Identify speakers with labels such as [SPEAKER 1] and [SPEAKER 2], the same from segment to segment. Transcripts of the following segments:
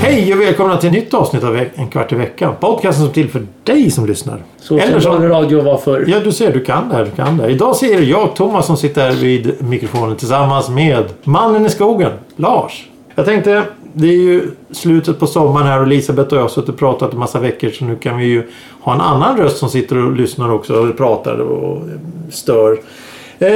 [SPEAKER 1] Hej och välkomna till ett nytt avsnitt av En kvart i veckan. Podcasten som är till för dig som lyssnar.
[SPEAKER 2] Så
[SPEAKER 1] Eller
[SPEAKER 2] som
[SPEAKER 1] som...
[SPEAKER 2] radio var förr.
[SPEAKER 1] Ja, du ser, du kan det här, du kan det här. Idag ser det jag, Thomas, som sitter här vid mikrofonen tillsammans med mannen i skogen, Lars. Jag tänkte, det är ju slutet på sommaren här och Elisabeth och jag har suttit och pratat en massa veckor så nu kan vi ju ha en annan röst som sitter och lyssnar också, eller pratar och eh, stör. Eh,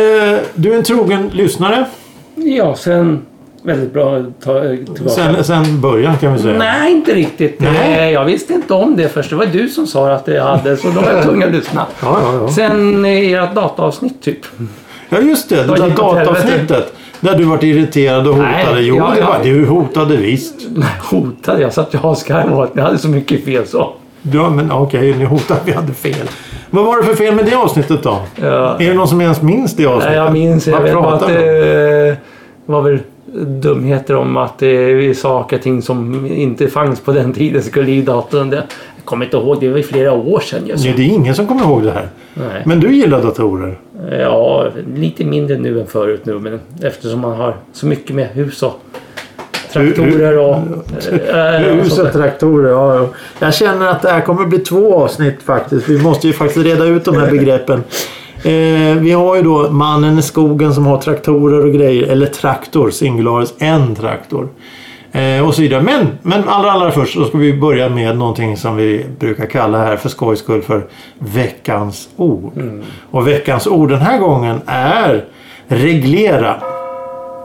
[SPEAKER 1] du är en trogen lyssnare.
[SPEAKER 2] Ja, sen... Väldigt bra ta, tillbaka.
[SPEAKER 1] Sen, sen början kan vi säga.
[SPEAKER 2] Nej, inte riktigt.
[SPEAKER 1] Nej.
[SPEAKER 2] Eh, Jag visste inte om det först. Det var du som sa att det hade, så då var jag tvungen att lyssna.
[SPEAKER 1] Ja, ja, ja.
[SPEAKER 2] Sen eh, ert dataavsnitt typ.
[SPEAKER 1] Ja just det, det
[SPEAKER 2] Vad
[SPEAKER 1] där
[SPEAKER 2] gick åt
[SPEAKER 1] dataavsnittet.
[SPEAKER 2] helvete?
[SPEAKER 1] Där du varit irriterad och
[SPEAKER 2] Nej,
[SPEAKER 1] hotade. jo,
[SPEAKER 2] ja,
[SPEAKER 1] det
[SPEAKER 2] ja.
[SPEAKER 1] var, du hotade visst.
[SPEAKER 2] Hotade jag så att jag skrev åt. Ni hade så mycket fel så.
[SPEAKER 1] Ja, men okej, ni hotade. Vi hade fel. Vad var det för fel med det avsnittet då?
[SPEAKER 2] Ja.
[SPEAKER 1] Är det någon som ens minns det avsnittet?
[SPEAKER 2] Nej, jag minns. Jag
[SPEAKER 1] Vad
[SPEAKER 2] vet bara att
[SPEAKER 1] pratar vi om?
[SPEAKER 2] det var väl dumheter om att eh, vi saker och ting som inte fanns på den tiden skulle i datorn. Det- Jag kommer inte ihåg. Det var ju flera år sedan. Just.
[SPEAKER 1] Nej, det är ingen som kommer ihåg det här.
[SPEAKER 2] Nej.
[SPEAKER 1] Men du gillar datorer.
[SPEAKER 2] Ja, lite mindre nu än förut nu. Men eftersom man har så mycket med hus och traktorer och... eh, och sånt där.
[SPEAKER 1] Huset, traktorer, ja. ja. Jag känner att det här kommer bli två avsnitt faktiskt. Vi måste ju faktiskt reda ut de här begreppen. Eh, vi har ju då mannen i skogen som har traktorer och grejer. Eller traktor, singularis, en traktor. Eh, och så vidare. Men, men allra, allra först så ska vi börja med någonting som vi brukar kalla här för skojs skull för veckans ord. Och veckans ord den här gången är reglera.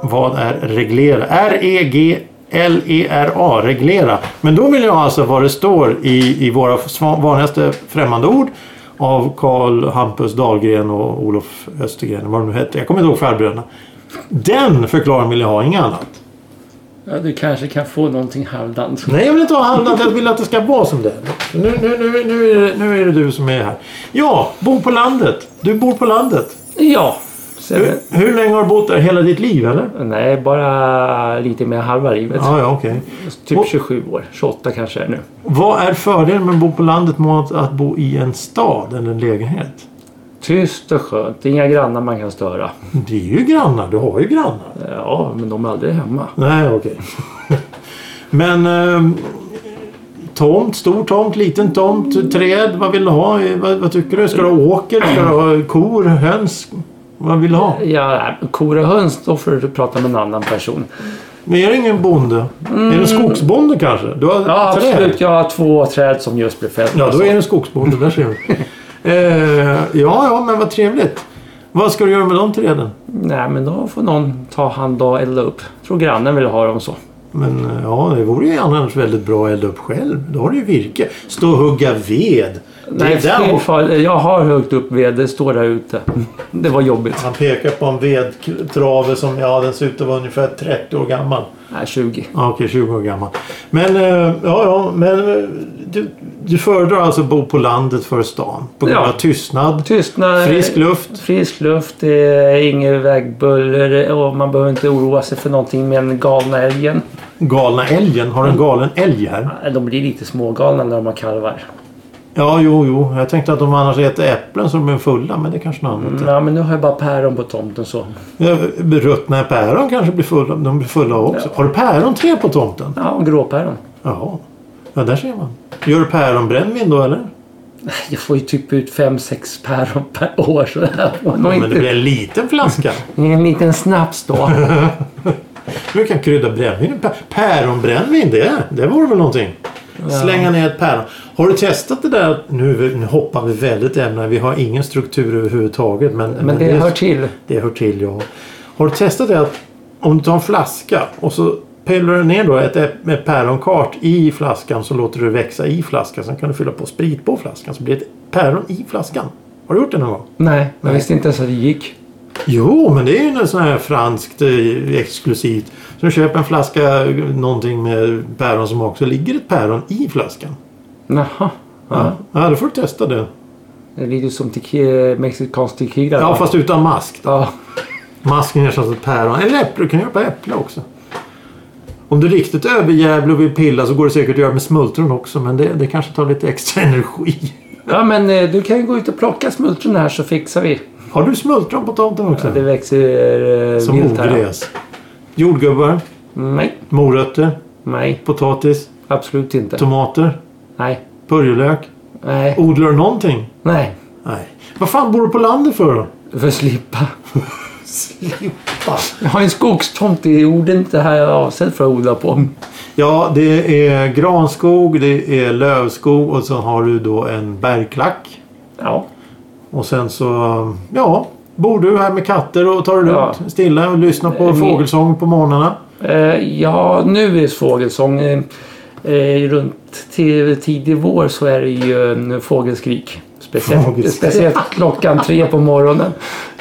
[SPEAKER 1] Vad är reglera? E R-E-G-L-E-R-A, E reglera. Men då vill jag alltså vad det står i, i våra sva- vanligaste främmande ord av Karl Hampus Dahlgren och Olof Östergren, vad de nu hette. Jag kommer inte ihåg färgbröderna. Den förklaringen vill jag ha, inget annat.
[SPEAKER 2] Ja, du kanske kan få någonting halvdant.
[SPEAKER 1] Nej, jag vill inte ha handlat. Jag vill att det ska vara som det är. Nu, nu, nu, nu, är det, nu är det du som är här. Ja, bo på landet. Du bor på landet.
[SPEAKER 2] Ja. Sen,
[SPEAKER 1] Hur, hur länge har du bott där? Hela ditt liv, eller?
[SPEAKER 2] Nej, bara lite mer halva livet.
[SPEAKER 1] Ja, ja, okej.
[SPEAKER 2] Typ
[SPEAKER 1] Och-
[SPEAKER 2] 27 år. 28 kanske är nu.
[SPEAKER 1] Vad är fördelen med att bo på landet mot att bo i en stad eller en lägenhet?
[SPEAKER 2] Tyst och skönt. Inga grannar man kan störa. Eh,
[SPEAKER 1] Det är ju grannar. Du har ju grannar.
[SPEAKER 2] Ja, men de är aldrig hemma.
[SPEAKER 1] Nej, okej. Men... ehm, tomt, stor tomt, liten tomt, träd. Vad vill du ha? Vad, vad tycker du? Ska du ha åker? Ska du ha kor? Höns? Vad vill du ha?
[SPEAKER 2] Ja, kor och höns, då får du prata med en annan person.
[SPEAKER 1] Men är det ingen bonde? Är du en skogsbonde kanske? Du har
[SPEAKER 2] Mm. Ja,
[SPEAKER 1] träd.
[SPEAKER 2] absolut. Alltså. Jag har två träd som just blev fällda.
[SPEAKER 1] Ja, då är du en skogsbonde. Där ser du. eh, ja, ja, men vad trevligt. Vad ska du göra med de träden?
[SPEAKER 2] Nej, men då får någon ta hand och elda upp. tror grannen vill ha dem så.
[SPEAKER 1] Men eh, ja, det vore ju annars väldigt bra att elda upp själv. Då har du ju virke. Stå och hugga ved. Det
[SPEAKER 2] Nej,
[SPEAKER 1] är där och-
[SPEAKER 2] fy fan, jag har högt upp ved. Det står där ute. Det var jobbigt.
[SPEAKER 1] Han pekar på en vedtrave som ja, den ser ut att vara ungefär 30 år gammal.
[SPEAKER 2] Nej, 20.
[SPEAKER 1] Ja, okej, 20 år gammal. Men, eh, ja, ja, men eh, du, du föredrar alltså att bo på landet före stan? På grund
[SPEAKER 2] Ja. Eh.
[SPEAKER 1] av tystnad?
[SPEAKER 2] Tystnad.
[SPEAKER 1] Frisk luft?
[SPEAKER 2] Frisk luft. Det är inget vägbuller och man behöver inte oroa sig för någonting med en galna älgen.
[SPEAKER 1] Galna älgen? Har du en galen älg här?
[SPEAKER 2] Nej, De blir lite smågalna när de har kalvar.
[SPEAKER 1] Ja, jo, jo. Jag tänkte att de annars äter äpplen så de är fulla, men det kanske något annat.
[SPEAKER 2] Nej, men nu har jag bara päron på tomten så.
[SPEAKER 1] Mm. Ruttna päron kanske blir fulla. De blir fulla också. Har du päronträd på tomten?
[SPEAKER 2] Ja, och gråpäron.
[SPEAKER 1] Ja. Ja, där ser man. Gör du päronbrännvin då eller?
[SPEAKER 2] Jag får ju typ ut fem sex päron per år. Så jag får nog
[SPEAKER 1] Men det
[SPEAKER 2] inte...
[SPEAKER 1] blir en liten flaska.
[SPEAKER 2] En liten snaps då.
[SPEAKER 1] Du kan krydda brännvin. Pä- Päronbrännvin, det, det vore väl någonting. Slänga ner ett päron. Har du testat det där? Nu, nu hoppar vi väldigt ämnen. Vi har ingen struktur överhuvudtaget. Men,
[SPEAKER 2] Men det hör till.
[SPEAKER 1] Det hör till, ja. Har du testat det att om du tar en flaska och så pillar du ner då ett, äpp- ett päronkart i flaskan så låter du det växa i flaskan. Sen kan du fylla på sprit på flaskan så blir det ett päron i flaskan. Har du gjort det någon gång?
[SPEAKER 2] Nej, jag visste inte ens att det gick.
[SPEAKER 1] Jo, men det är ju något sånt här franskt eh, exklusivt. Så du köper en flaska eh, någonting med päronsmak så ligger ett päron i flaskan.
[SPEAKER 2] Jaha.
[SPEAKER 1] Ja, ja då får du testa det.
[SPEAKER 2] Det är lite som tequila, mexikansk tequila.
[SPEAKER 1] Ja, fast utan mask.
[SPEAKER 2] Ja.
[SPEAKER 1] Masken ersätts av päron. Eller äpple. Du kan köpa äpple också. Om du är riktigt överjävlig och vill pilla så går det säkert att göra med smultron också men det, det kanske tar lite extra energi.
[SPEAKER 2] Ja men eh, du kan ju gå ut och plocka smultron här så fixar vi.
[SPEAKER 1] Har du smultron på tomten också?
[SPEAKER 2] Det växer eh,
[SPEAKER 1] Mm. Som
[SPEAKER 2] vilt här. Mm,
[SPEAKER 1] ogräs. Jordgubbar,
[SPEAKER 2] Nej,
[SPEAKER 1] morötter,
[SPEAKER 2] nej,
[SPEAKER 1] potatis,
[SPEAKER 2] absolut inte.
[SPEAKER 1] tomater,
[SPEAKER 2] Nej,
[SPEAKER 1] purjolök.
[SPEAKER 2] nej,
[SPEAKER 1] Odlar du någonting?
[SPEAKER 2] nej.
[SPEAKER 1] Nej. Vad fan bor du på landet för då?
[SPEAKER 2] För att slippa.
[SPEAKER 1] Slippa.
[SPEAKER 2] Jag har en skogstomt i jorden inte här jag är avsedd för att odla på.
[SPEAKER 1] Ja, det är granskog, det är lövskog och så har du då en bergklack.
[SPEAKER 2] Ja,
[SPEAKER 1] Och sen så, ja, bor du här med katter och tar det
[SPEAKER 2] Ja.
[SPEAKER 1] lugnt. Stilla och lyssnar på
[SPEAKER 2] Eh, vi-
[SPEAKER 1] fågelsång på morgnarna.
[SPEAKER 2] eh, ja nu är det fågelsång. Eh, eh, runt till tidig vår så är det ju en fågelskrik. Speciellt,
[SPEAKER 1] Fågelskrik.
[SPEAKER 2] speciellt klockan tre på morgonen.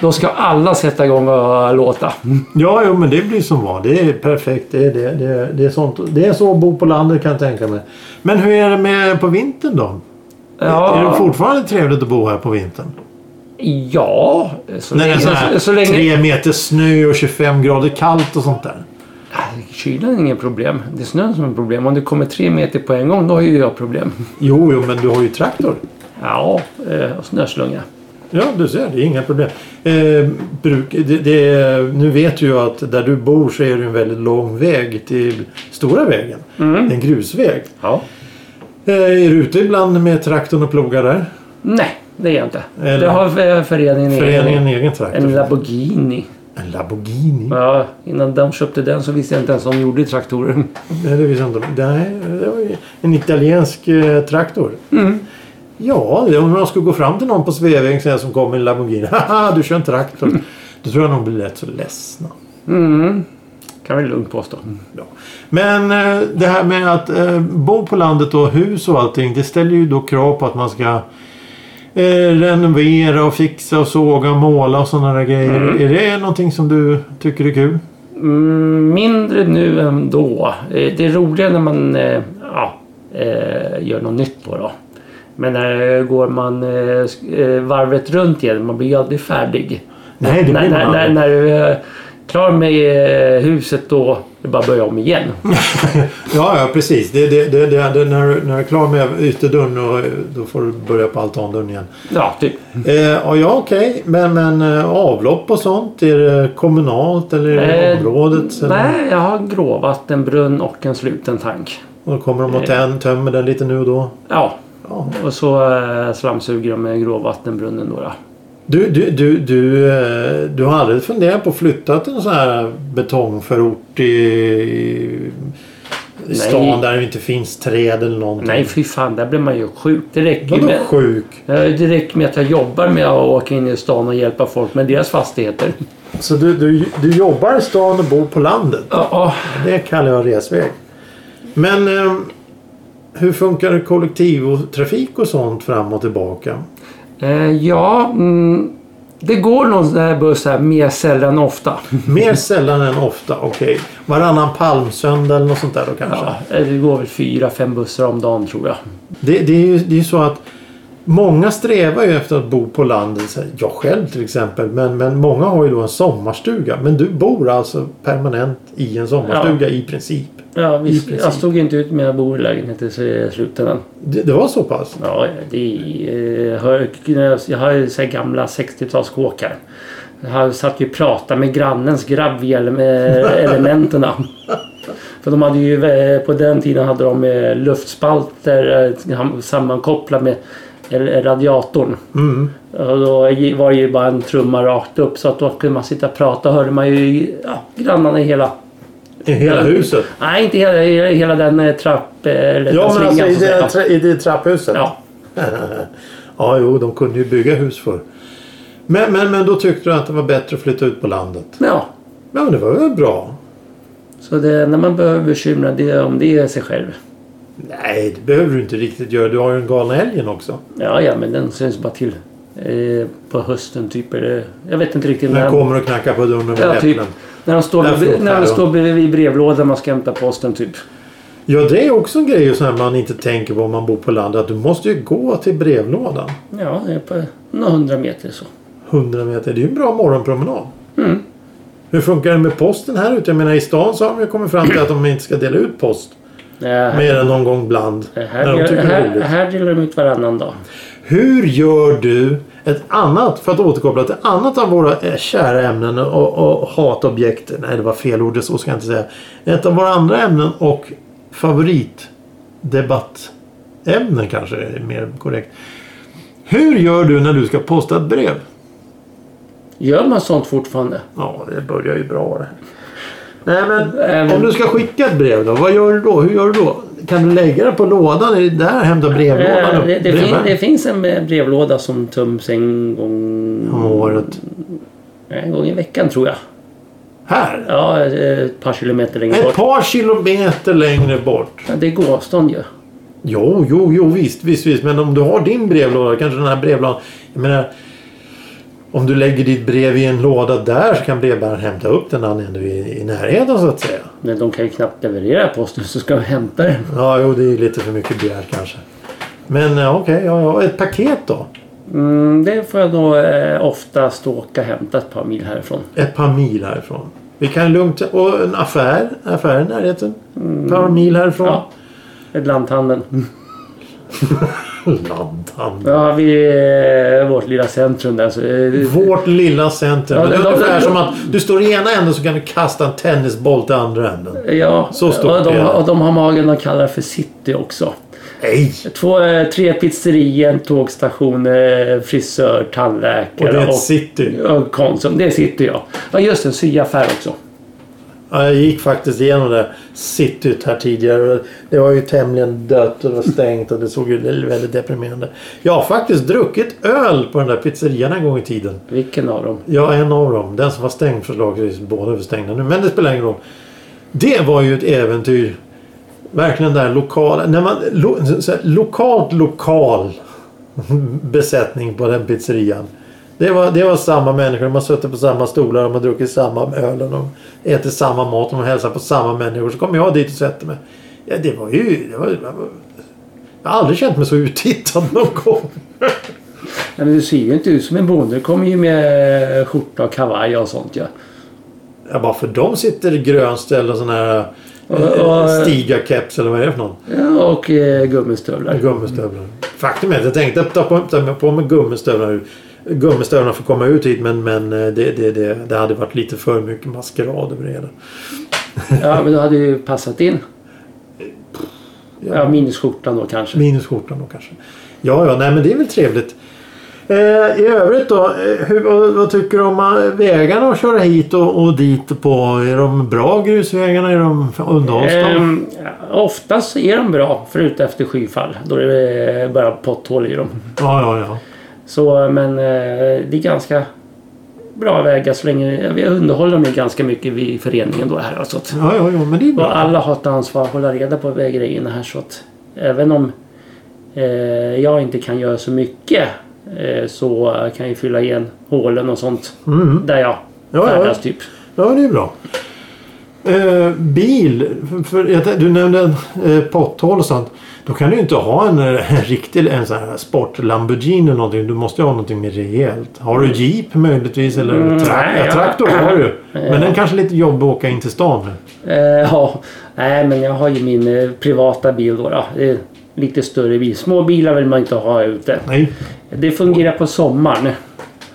[SPEAKER 2] Då ska alla sätta igång och låta.
[SPEAKER 1] Ja, jo, men det blir som var. Det är perfekt. Det är, det, det, är- det är, sånt. Det är så att bo på landet kan jag tänka mig. Men hur är det med på vintern då? Är det fortfarande trevligt att bo här på vintern?
[SPEAKER 2] Ja, så
[SPEAKER 1] När det är
[SPEAKER 2] länge...
[SPEAKER 1] sån här
[SPEAKER 2] Så, så länge
[SPEAKER 1] tre meter snö och 25 grader kallt och sånt där.
[SPEAKER 2] Kylan är inget problem. Det är snön som är problem. Om det kommer tre meter på en gång, då har ju jag problem.
[SPEAKER 1] Jo, jo, men du har ju traktor.
[SPEAKER 2] Ja, eh, och snöslunga.
[SPEAKER 1] Ja, du ser. Det är inga problem. Eh, bruk, det, det, är- nu vet du ju att där du bor så är det en väldigt lång väg till stora vägen. En grusväg.
[SPEAKER 2] Ja.
[SPEAKER 1] Eh, är du ute ibland med traktorn och plogar där?
[SPEAKER 2] Nej, det är jag inte.
[SPEAKER 1] Eller-
[SPEAKER 2] Det har eh, föreningen egen.
[SPEAKER 1] Föreningen har egen traktor.
[SPEAKER 2] En Lamborghini.
[SPEAKER 1] En Lamborghini?
[SPEAKER 2] Ja, innan de köpte den så visste jag inte ens om de gjorde traktorer.
[SPEAKER 1] Nej, det visste jag inte. Nej, det var ju en italiensk eh, traktor. Ja, det- om man skulle gå fram till någon på Sveavägen sen som kom med en Lamborghini. Haha, du kör en traktor. Då tror jag nog blir rätt så ledsna.
[SPEAKER 2] Mm. Kan vi lugnt påstå.
[SPEAKER 1] Ja. Men eh, det här med att eh, bo på landet och hus och allting. Det ställer ju då krav på att man ska eh, renovera och fixa och såga och måla och sådana där grejer. Är det någonting som du tycker är kul?
[SPEAKER 2] Mm, mindre nu än då. Eh, Det är roligare när man eh, ja, eh, gör något nytt då. då. Men när går man eh, sk- eh, varvet runt igen, man blir ju aldrig färdig.
[SPEAKER 1] Nej, det
[SPEAKER 2] när,
[SPEAKER 1] blir man
[SPEAKER 2] när, när,
[SPEAKER 1] aldrig.
[SPEAKER 2] när du är klar med eh, huset då, är det bara att börja om igen.
[SPEAKER 1] Ja, ja precis. Det, det, det, det, det, när, du- när du är klar med ytterdörren och, eh, då får du börja på altandörren igen.
[SPEAKER 2] Ja, typ.
[SPEAKER 1] Eh, och ja, okej. Men, men eh, avlopp och sånt? Är det kommunalt eller är det
[SPEAKER 2] Eh,
[SPEAKER 1] området? Eller?
[SPEAKER 2] Nej, jag har en gråvattenbrunn och en sluten tank.
[SPEAKER 1] Och då kommer de och tän, tömmer den lite nu och då?
[SPEAKER 2] Ja,
[SPEAKER 1] Ja.
[SPEAKER 2] och så eh, slamsuger de med gråvattenbrunnen då. då.
[SPEAKER 1] Du, du, du, du, eh, du har aldrig funderat på att flytta till en sån här betongförort i, i i stan där det inte finns träd eller någonting?
[SPEAKER 2] Nej, fy fan, där blir man ju sjuk. Det räcker ju
[SPEAKER 1] Vadå
[SPEAKER 2] med...
[SPEAKER 1] sjuk?
[SPEAKER 2] Ja, Det räcker med att jag jobbar med att åka in i stan och hjälpa folk med deras fastigheter.
[SPEAKER 1] Så du, du, du jobbar i stan och bor på landet?
[SPEAKER 2] Ja,
[SPEAKER 1] Det kallar jag resväg. Men eh, hur funkar kollektivtrafik och sånt fram och tillbaka?
[SPEAKER 2] eh, ja mm, det går någon sån här buss här mer sällan ofta.
[SPEAKER 1] Mer sällan än ofta, okej. Varannan palmsöndag eller något sånt där då kanske?
[SPEAKER 2] Ja, eh, det går väl fyra, fem bussar om dagen tror jag.
[SPEAKER 1] Det, det är ju det är ju så att många strävar ju efter att bo på landet. Så här, Jag själv till exempel. Men, men många har ju då en sommarstuga. Men du bor alltså permanent i en sommarstuga i princip.
[SPEAKER 2] Ja, visst,
[SPEAKER 1] princip.
[SPEAKER 2] jag stod ju inte ut med att bo i lägenheten så i slutändan.
[SPEAKER 1] Det, det var så pass?
[SPEAKER 2] Ja, det är, eh, har- jag har ju så här gamla 60-talskåkar. Jag satt ju och pratade med grannens grabb via ele- eh, elementen. För de hade ju eh, på den tiden hade de eh, luftspalter eh, sam- sammankopplade med el- radiatorn.
[SPEAKER 1] Mm.
[SPEAKER 2] Och då gi- var det ju bara en trumma rakt upp så att då kunde man sitta och prata hörde man ju ja, grannarna i hela...
[SPEAKER 1] I hela huset?
[SPEAKER 2] Nej, inte hela, i hela den eh, trapp... eh, Eller den
[SPEAKER 1] Ja men alltså
[SPEAKER 2] slingan,
[SPEAKER 1] i
[SPEAKER 2] så att
[SPEAKER 1] det,
[SPEAKER 2] säga.
[SPEAKER 1] tra- i det trapphuset?
[SPEAKER 2] Ja.
[SPEAKER 1] ja jo de kunde ju bygga hus för. Men, men, men då tyckte du att det var bättre att flytta ut på landet?
[SPEAKER 2] ja.
[SPEAKER 1] Ja men det var väl bra?
[SPEAKER 2] Så det enda man behöver bekymra det är om det är sig själv.
[SPEAKER 1] Nej det behöver du inte riktigt göra. Du har ju den galna älgen också.
[SPEAKER 2] Ja, ja, men den syns bara till eh, på hösten typ. Eller, jag vet inte riktigt när.
[SPEAKER 1] Den kommer och knackar på dörren med
[SPEAKER 2] ja,
[SPEAKER 1] äpplen.
[SPEAKER 2] typ, när de står,
[SPEAKER 1] Där
[SPEAKER 2] vid,
[SPEAKER 1] flyttar
[SPEAKER 2] när de
[SPEAKER 1] de.
[SPEAKER 2] står vid, vid brevlådan man ska hämta posten typ.
[SPEAKER 1] Ja, det är också en grej som man inte tänker på om man bor på landet. Att du måste ju gå till brevlådan.
[SPEAKER 2] Ja, det är på några hundra meter så. Äh,
[SPEAKER 1] 100 meter, det är ju en bra morgonpromenad.
[SPEAKER 2] Mm.
[SPEAKER 1] Hur funkar det med posten här ute? Jag menar i stan så har de ju kommit fram till att de inte ska dela ut post.
[SPEAKER 2] Eh,
[SPEAKER 1] Mer än någon gång ibland. När
[SPEAKER 2] Här,
[SPEAKER 1] de
[SPEAKER 2] gör-
[SPEAKER 1] tycker det är
[SPEAKER 2] här,
[SPEAKER 1] roligt.
[SPEAKER 2] här delar de ut varannan dag.
[SPEAKER 1] Hur gör du ett annat, för att återkoppla till annat av våra eh, kära ämnen och, och hatobjekt. Nej, det var fel ord. Så ska jag inte säga. Ett av våra andra ämnen och favoritdebattämnen kanske är mer korrekt. Hur gör du när du ska posta ett brev?
[SPEAKER 2] Gör man sånt fortfarande?
[SPEAKER 1] Ja, det börjar ju bra det. Nej men,
[SPEAKER 2] Även-
[SPEAKER 1] om du ska skicka ett brev då, vad gör du då? Hur gör du då? Kan du lägga det på lådan? Är det där hämtar brevlådan
[SPEAKER 2] Eh,
[SPEAKER 1] upp?
[SPEAKER 2] det, det, fin,
[SPEAKER 1] brevbäraren?
[SPEAKER 2] det finns en eh, brevlåda som töms en gång,
[SPEAKER 1] Om året.
[SPEAKER 2] en gång i veckan tror jag.
[SPEAKER 1] Här!
[SPEAKER 2] Ja, eh, ett par kilometer längre bort.
[SPEAKER 1] Ett par kilometer längre bort.
[SPEAKER 2] Ja, Det är gåavstånd ju.
[SPEAKER 1] Jo, jo, jo visst, visst, visst. Men om du har din brevlåda, kanske den här brevlådan. Jag menar, om du lägger ditt brev i en låda där så kan brevbäraren hämta upp den när han ändå är i, i närheten så att säga.
[SPEAKER 2] Men de kan ju knappt leverera posten så ska de hämta den.
[SPEAKER 1] Ja, jo, det är lite för mycket begärt kanske. Men ja, okej, ja, ja. Ett paket då?
[SPEAKER 2] Mm, det får jag nog eh, oftast åka och hämta ett par mil härifrån.
[SPEAKER 1] Ett par mil härifrån. Vi kan lugnt... Och en affär. Affär i närheten. Ett par mil härifrån.
[SPEAKER 2] Ja. Ett
[SPEAKER 1] Mm.
[SPEAKER 2] lanthandeln.
[SPEAKER 1] Lanthandel.
[SPEAKER 2] Ja, vi eh, vårt lilla centrum där. Så, eh,
[SPEAKER 1] Vårt lilla center. det
[SPEAKER 2] Ja,
[SPEAKER 1] är
[SPEAKER 2] de- de-
[SPEAKER 1] ungefär
[SPEAKER 2] de-
[SPEAKER 1] som att du står i ena änden så kan du kasta en tennisboll till andra änden.
[SPEAKER 2] ja,
[SPEAKER 1] Så stort
[SPEAKER 2] och,
[SPEAKER 1] är
[SPEAKER 2] de,
[SPEAKER 1] det.
[SPEAKER 2] och de har magen att kalla det för city också.
[SPEAKER 1] Nej!
[SPEAKER 2] Två, eh, tre pizzerior, en tågstation, eh, frisör,
[SPEAKER 1] Och det
[SPEAKER 2] tandläkare
[SPEAKER 1] är ett city.
[SPEAKER 2] och Konsum. Det sitter jag. Ja just det, en syaffär också.
[SPEAKER 1] Ja, jag gick faktiskt igenom det cityt här tidigare. Det var ju tämligen dött och det var stängt och det såg ju väldigt deprimerande. Jag har faktiskt druckit öl på den där pizzerian en gång i tiden.
[SPEAKER 2] Vilken av dem?
[SPEAKER 1] Ja, en av dem. Den som var stängd förslagsvis. Båda är väl stängda nu, men det spelar ingen roll. Det var ju ett äventyr. Verkligen där lokala... När man, lo, så här, lokalt lokal besättning på den pizzerian. Det var, det var samma människor. De har suttit på samma stolar. De har druckit samma öl. och De äter samma mat. De hälsar på samma människor. Så kom jag dit och sätter mig. Ja, det var ju... Det var, det var, jag har aldrig känt mig så uttittad någon gång.
[SPEAKER 2] Nej, men du ser ju inte ut som en bonde. Du kommer ju med eh, skjorta och kavaj och sånt ju. Ja.
[SPEAKER 1] Ja, bara för dem sitter det grönställ och sån här
[SPEAKER 2] och-
[SPEAKER 1] eh, stigakeps eller vad är det för någon?
[SPEAKER 2] Ja, och eh, gummistövlar.
[SPEAKER 1] Gummistövlar. Faktum är att jag tänkte ta på, ta på mig gummistövlar. Gummistövlarna får komma ut hit men, men eh, det, det, det, det hade varit lite för mycket maskerad över det hela.
[SPEAKER 2] Ja, men då hade ju passat in. Ja, minusskjortan då kanske.
[SPEAKER 1] Minus skjortan då kanske. Ja, ja, nej men det är väl trevligt. Eh, I övrigt då, eh, hur, vad, vad tycker du om eh, vägarna att köra hit och, och dit på? Är de bra grusvägarna? Är de underhålls de?
[SPEAKER 2] Ehm, ja, oftast är de bra, förutom efter skyfall. Då är det eh, bara potthål i dem.
[SPEAKER 1] Ja, ja, ja.
[SPEAKER 2] Så, men eh, det är ganska bra vägar så länge... Vi underhåller dem ju ganska mycket vid föreningen då här. Alltså. att-
[SPEAKER 1] Ja, ja, ja men det är bra.
[SPEAKER 2] Och alla har ett ansvar att hålla reda på väggrejerna här så att även om eh, jag inte kan göra så mycket eh, så kan jag ju fylla igen hålen och sånt där jag
[SPEAKER 1] Mm. ja.
[SPEAKER 2] färdas typ.
[SPEAKER 1] Ja, det är bra. Eh, bil. För, för, jag tänkte- du nämnde eh, potthål och sånt. Då kan du ju inte ha en, eh, en riktig en sån här sport Lamborghini eller någonting. Du måste ju ha någonting mer rejält. Har du Jeep möjligtvis? Eller
[SPEAKER 2] Mm,
[SPEAKER 1] tra-
[SPEAKER 2] nej,
[SPEAKER 1] ja,
[SPEAKER 2] jag-
[SPEAKER 1] traktor har du.
[SPEAKER 2] Ja.
[SPEAKER 1] Men den kanske är lite jobbig att åka in till stan med.
[SPEAKER 2] Eh, ja, nej men jag har ju min eh, privata bil då. då. Det är lite större bil. Små bilar vill man inte ha ute.
[SPEAKER 1] Nej.
[SPEAKER 2] Det fungerar på sommaren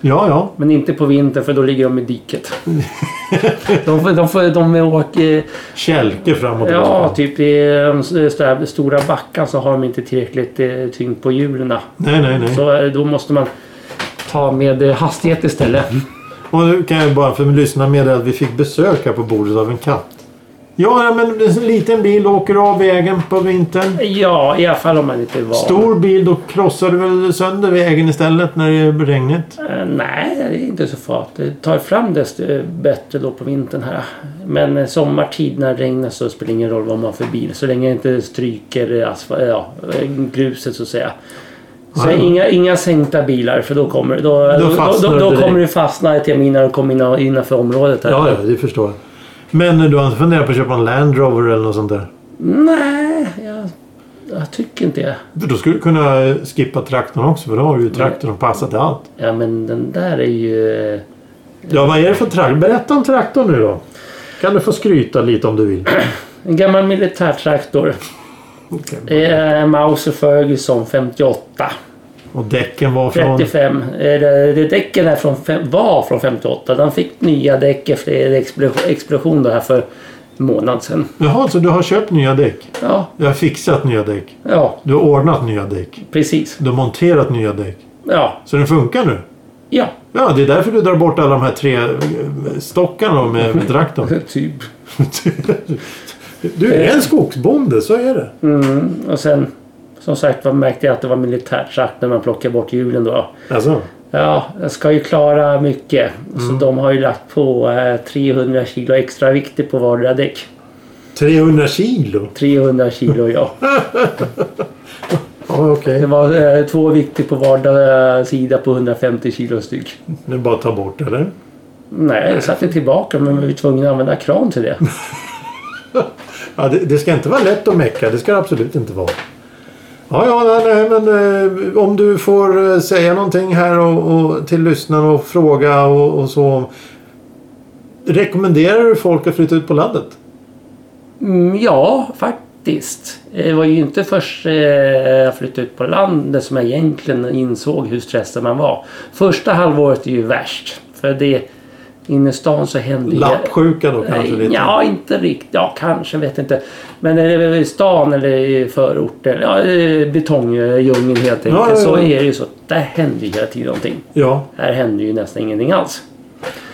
[SPEAKER 1] Ja, ja.
[SPEAKER 2] men inte på vintern för då ligger de i diket. de, får, de, får, de åker...
[SPEAKER 1] Kälke framåt.
[SPEAKER 2] Ja, typ i de s- där stora backarna så har de inte tillräckligt eh, tyngd på hjulen.
[SPEAKER 1] Nej, nej, nej.
[SPEAKER 2] Så eh, då måste man ta med eh, hastighet istället.
[SPEAKER 1] Och nu kan jag bara för lyssnarna meddela att vi fick besök här på bordet av en katt. Ja, ja, men det är en liten bil åker av vägen på vintern.
[SPEAKER 2] Ja, i alla fall om man inte är van.
[SPEAKER 1] Stor bil, då krossar du väl sönder vägen istället när det är regnigt?
[SPEAKER 2] Eh, Nej, det är inte så farligt. Ta fram desto eh, bättre då på vintern här. Men eh, sommartid när det regnar så spelar det ingen roll vad man har för bil. Så länge det inte stryker eh, asfa- eh, ja, eh, gruset så att säga. Så
[SPEAKER 1] Nej.
[SPEAKER 2] inga, inga sänkta bilar för då kommer, då, då, då,
[SPEAKER 1] fastnar
[SPEAKER 2] då,
[SPEAKER 1] det direkt.
[SPEAKER 2] kommer det fastna ett termin när de kommer innan- innanför området. Här.
[SPEAKER 1] Ja, ja, det förstår jag. Men eh, du har inte funderat på att köpa en Land Rover eller något sånt där?
[SPEAKER 2] Nej, jag, jag tycker inte det.
[SPEAKER 1] Då skulle du kunna eh, skippa traktorn också för då har du ju traktorn och passar till allt.
[SPEAKER 2] Ja, men den där är ju... eh,
[SPEAKER 1] Ja, vad är det för traktor? Berätta om traktorn nu då. Kan du få skryta lite om du vill.
[SPEAKER 2] En gammal militärtraktor.
[SPEAKER 1] Okej.
[SPEAKER 2] Eh, Mauser Ferguson 58.
[SPEAKER 1] Och däcken var från...
[SPEAKER 2] 35. Eh, det, det däcken är från, fem- var från 58. Den fick nya däck efter en explosion, explosion där för en månad sedan.
[SPEAKER 1] Jaha, så du har köpt nya däck?
[SPEAKER 2] Ja,
[SPEAKER 1] Du har fixat nya däck?
[SPEAKER 2] ja
[SPEAKER 1] Du har ordnat nya däck?
[SPEAKER 2] precis.
[SPEAKER 1] Du har monterat nya däck?
[SPEAKER 2] Ja,
[SPEAKER 1] Så den funkar nu?
[SPEAKER 2] ja.
[SPEAKER 1] Ja, det är därför du drar bort alla de här tre eh, stockarna då med, med traktorn.
[SPEAKER 2] Typ.
[SPEAKER 1] Du är en skogsbonde, så är det.
[SPEAKER 2] Mm, och sen som sagt var märkte jag att det var militärtrakt när man plockade bort hjulen då.
[SPEAKER 1] Alltså,
[SPEAKER 2] Ja, jag ska ju klara mycket. Så de har ju lagt på eh, 300 kilo extra vikter på vardera däck.
[SPEAKER 1] 300 kilo?
[SPEAKER 2] 300 kilo ja.
[SPEAKER 1] Ja, okej.
[SPEAKER 2] Det var eh, två vikter på vardera sida på 150 kilo styck.
[SPEAKER 1] Nu bara ta bort, eller?
[SPEAKER 2] Nej, jag satte tillbaka men vi var tvungna att använda kran till det.
[SPEAKER 1] Ja, det, det ska inte vara lätt att mecka. Det ska det absolut inte vara. Ja, ja, nej, nej, men eh, om du får eh, säga någonting här och, och, till lyssnarna och fråga och, och så. Rekommenderar du folk att flytta ut på landet?
[SPEAKER 2] Mm, ja, faktiskt. Det var ju inte först eh, jag flyttade ut på landet som jag egentligen insåg hur stressad man var. Första halvåret är ju värst. För det inne i stan så händer ju-
[SPEAKER 1] Lappsjuka då kanske lite?
[SPEAKER 2] Ja, inte riktigt. Ja, kanske. Vet inte. Men är det i stan eller i förorten. Ja, i betongdjungeln helt enkelt.
[SPEAKER 1] ja, ja.
[SPEAKER 2] Så är det ju så. Där händer ju hela tiden någonting.
[SPEAKER 1] Ja,
[SPEAKER 2] Här händer ju nästan ingenting alls.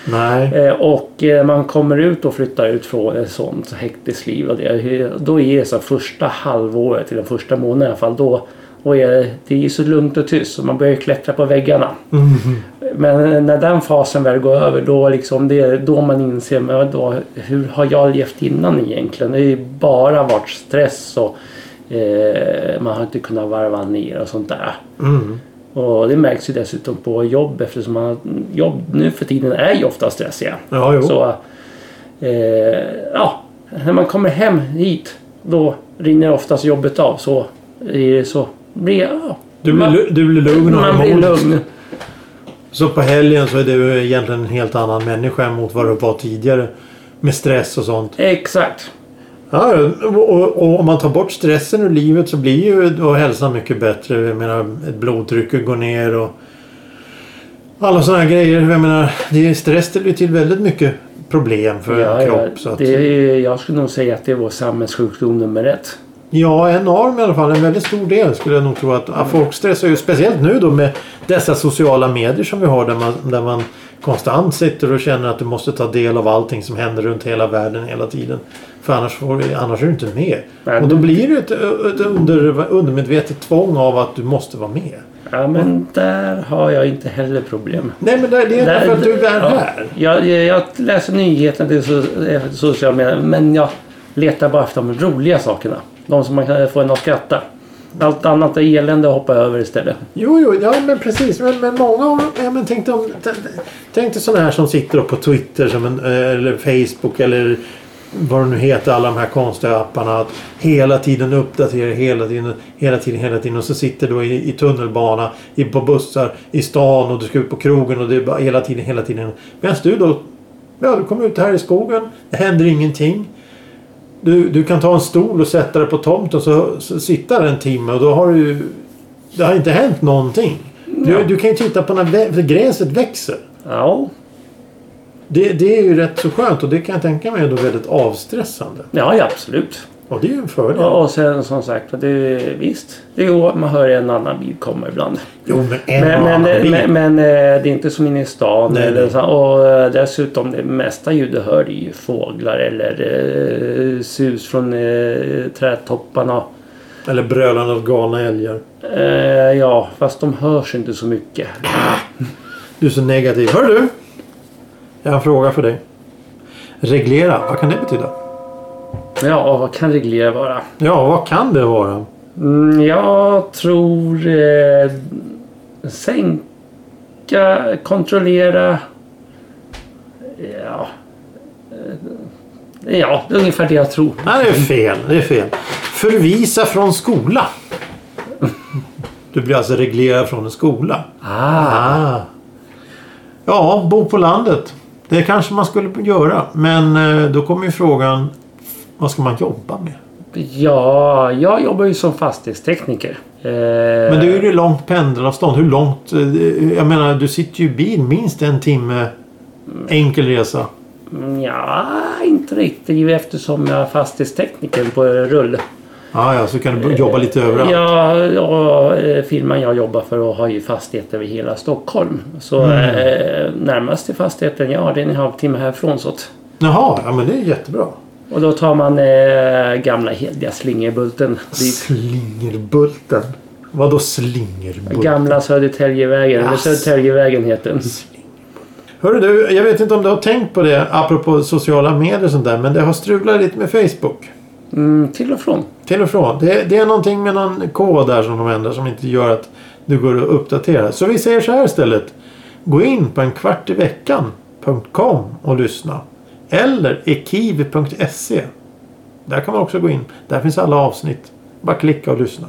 [SPEAKER 1] nej.
[SPEAKER 2] Eh, Och eh, man kommer ut och flyttar ut från ett sånt hektiskt liv. Och det, då är det så här första halvåret, till den första månaden i alla fall, då och är, det är ju så lugnt och tyst så man börjar klättra på väggarna. Men när den fasen väl går över då, liksom, det är då man inser men då, hur har jag levt innan egentligen? Det har ju bara varit stress och eh, man har inte kunnat varva ner och sånt där.
[SPEAKER 1] Mm.
[SPEAKER 2] Och det märks ju dessutom på jobb eftersom man, jobb nu för tiden är ju ofta stressiga.
[SPEAKER 1] Ja, jo.
[SPEAKER 2] Så, eh, ja, när man kommer hem hit då rinner oftast jobbet av. Så, eh, så blir ja,
[SPEAKER 1] Du blir,
[SPEAKER 2] man,
[SPEAKER 1] lu- du blir lugn och
[SPEAKER 2] man blir
[SPEAKER 1] harmonisk.
[SPEAKER 2] lugn.
[SPEAKER 1] Så på helgen så är du egentligen en helt annan människa än mot vad du var tidigare. Med stress och sånt.
[SPEAKER 2] Exakt.
[SPEAKER 1] Ja, och, och, och om man tar bort stressen ur livet så blir ju då hälsan mycket bättre. Jag menar, ett blodtryck går ner och alla sådana här grejer. Jag menar, det är stress ställer ju till väldigt mycket problem för en kropp. Så att,
[SPEAKER 2] det är, jag skulle nog säga att det är vår samhällssjukdom nummer ett.
[SPEAKER 1] Ja, enorm i alla fall. En väldigt stor del skulle jag nog tro att ja, folk stressar ju. Speciellt nu då med dessa sociala medier som vi har där man, där man konstant sitter och känner att du måste ta del av allting som händer runt hela världen hela tiden. För annars, får, vi- annars är du inte med.
[SPEAKER 2] Nej.
[SPEAKER 1] Och då blir det ett, ett under, undermedvetet tvång av att du måste vara med.
[SPEAKER 2] Ja, men där har jag inte heller problem.
[SPEAKER 1] Nej Mm. men det, det är
[SPEAKER 2] Där-
[SPEAKER 1] för att du är
[SPEAKER 2] ja.
[SPEAKER 1] här.
[SPEAKER 2] Jag, jag, jag läser nyheterna till so- eh, sociala medier men jag letar bara efter de roliga sakerna. De som man kan få en att skratta. Allt annat är elände att hoppa över istället.
[SPEAKER 1] Jo, jo, ja men precis. Men, men många av ja, men tänk, dig om, t- tänk dig sådana här som sitter upp på Twitter som en, eh, eller Facebook eller vad de nu heter, alla de här konstiga apparna. Att hela tiden uppdatera, hela tiden, hela tiden, hela tiden. Och så sitter du i, i tunnelbana, i, på bussar, i stan och du ska ut på krogen och det är bara hela tiden, hela tiden. Medan du då, ja du kommer ut här i skogen, det händer ingenting. Du, du kan ta en stol och sätta dig på tomten så, så sitta där en timme och då har du ju- Det har inte hänt någonting. Du, du kan ju titta på när vä- för gräset växer.
[SPEAKER 2] Ja,
[SPEAKER 1] Det, det är ju rätt så skönt och det kan jag tänka mig är då väldigt avstressande.
[SPEAKER 2] ja, ja absolut.
[SPEAKER 1] Och det är ju en fördel.
[SPEAKER 2] Och, och sen som sagt, det, visst. Det går, man hör en annan bil komma ibland.
[SPEAKER 1] Jo men en
[SPEAKER 2] Men,
[SPEAKER 1] och
[SPEAKER 2] men,
[SPEAKER 1] annan
[SPEAKER 2] men,
[SPEAKER 1] bil.
[SPEAKER 2] men, eh, det är inte som inne i stan.
[SPEAKER 1] Nej,
[SPEAKER 2] eller
[SPEAKER 1] nej.
[SPEAKER 2] Så, och eh, dessutom det mesta ljud du hör är ju fåglar eller eh, sus från eh, trädtopparna.
[SPEAKER 1] Eller brölande av galna älgar.
[SPEAKER 2] Eh, ja, fast de hörs inte så mycket.
[SPEAKER 1] Du är så negativ. Hör du! Jag har en fråga för dig. Reglera, vad kan det betyda?
[SPEAKER 2] Ja, vad kan reglera vara?
[SPEAKER 1] Ja, vad kan det vara?
[SPEAKER 2] Mm, jag tror... Eh, sänka, kontrollera... Ja... Eh, ja, det är ungefär det jag tror.
[SPEAKER 1] Nej, det är fel. Det är fel. Förvisa från skola. Du blir alltså reglerad från en skola.
[SPEAKER 2] Ah,
[SPEAKER 1] Ah. Ja, bo på landet. Det kanske man skulle göra. Men eh, då kommer ju frågan. Vad ska man jobba med?
[SPEAKER 2] Ja, jag jobbar ju som fastighetstekniker. Eh,
[SPEAKER 1] Men det är ju långt pendelavstånd. Hur långt? eh, Jag menar, du sitter ju i bil minst en timme. Enkel resa.
[SPEAKER 2] Ja, inte riktigt ju eftersom jag är fastighetstekniker på rull.
[SPEAKER 1] Ja, ja, så kan du jobba lite överallt.
[SPEAKER 2] Ja, och eh, firman jag jobbar för har ju fastigheter över hela Stockholm. Så eh, närmast till fastigheten, ja det är en halvtimme härifrån. Så att,
[SPEAKER 1] Jaha, ja men det är jättebra.
[SPEAKER 2] och då tar man eh, gamla hediga slingerbulten. dit.
[SPEAKER 1] Slingerbulten. Vadå slingerbulten?
[SPEAKER 2] Gamla Södertäljevägen, eller
[SPEAKER 1] Ass.
[SPEAKER 2] Södertäljevägen heter den.
[SPEAKER 1] Hörru du, jag vet inte om du har tänkt på det apropå sociala medier och sånt där. Men det har strulat lite med Facebook.
[SPEAKER 2] Mm, till och från.
[SPEAKER 1] Till och från. Det, det är någonting med någon kod där som de ändrar som inte gör att du går att uppdatera. Så vi säger så här istället. Gå in på en kvart i veckan.com och lyssna. Eller ekivi.se. Där kan man också gå in. Där finns alla avsnitt. Bara klicka och lyssna.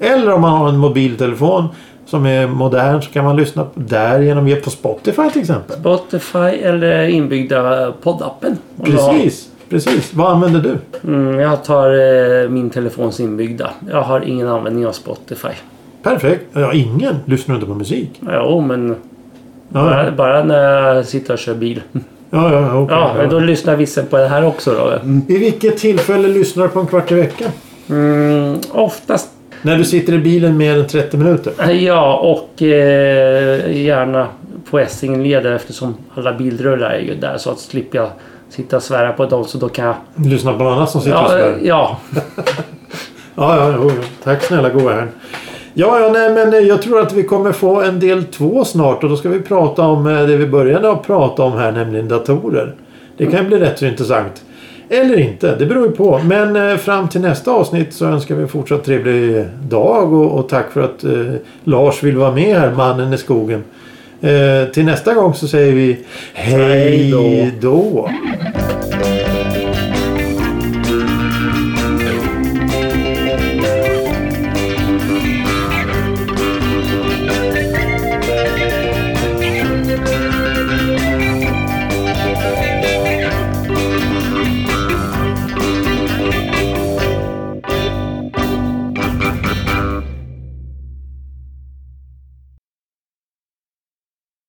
[SPEAKER 1] Eller om man har en mobiltelefon som är modern så kan man lyssna på- där genom på Spotify till exempel.
[SPEAKER 2] Spotify eller inbyggda poddappen. om du har.
[SPEAKER 1] Precis, precis. Vad använder du?
[SPEAKER 2] Mm, jag tar eh, min telefons inbyggda. Jag har ingen användning av Spotify.
[SPEAKER 1] Perfekt. Ja, ingen. Lyssnar du inte på musik?
[SPEAKER 2] Jo, men
[SPEAKER 1] Ja,
[SPEAKER 2] bara, bara när jag sitter och kör bil.
[SPEAKER 1] ja, ja, okej.
[SPEAKER 2] Ja, men då lyssnar vissa på det här också då.
[SPEAKER 1] I vilket tillfälle lyssnar du på en kvart i veckan?
[SPEAKER 2] Mm, oftast
[SPEAKER 1] När du sitter i bilen mer än 30 minuter?
[SPEAKER 2] ja och eh, gärna på Essingeleden eftersom alla bilrullar är ju där så att slipper jag sitta och svära på dem så då kan jag...
[SPEAKER 1] Lyssna på någon annan som sitter och
[SPEAKER 2] Ja,
[SPEAKER 1] svär?
[SPEAKER 2] eh, ja.
[SPEAKER 1] Ja, ja, jo, jo. Tack snälla goa herrn. Ja, ja, nej, men eh, jag tror att vi kommer få en del två snart och då ska vi prata om eh, det vi började att prata om här, nämligen datorer. Det kan bli rätt så intressant. Eller inte, det beror ju på. Men eh, fram till nästa avsnitt så önskar vi en fortsatt trevlig dag och, och tack för att eh, Lars vill vara med här, mannen i skogen. Eh, till nästa gång så säger vi
[SPEAKER 2] Hej då.
[SPEAKER 1] Hej då.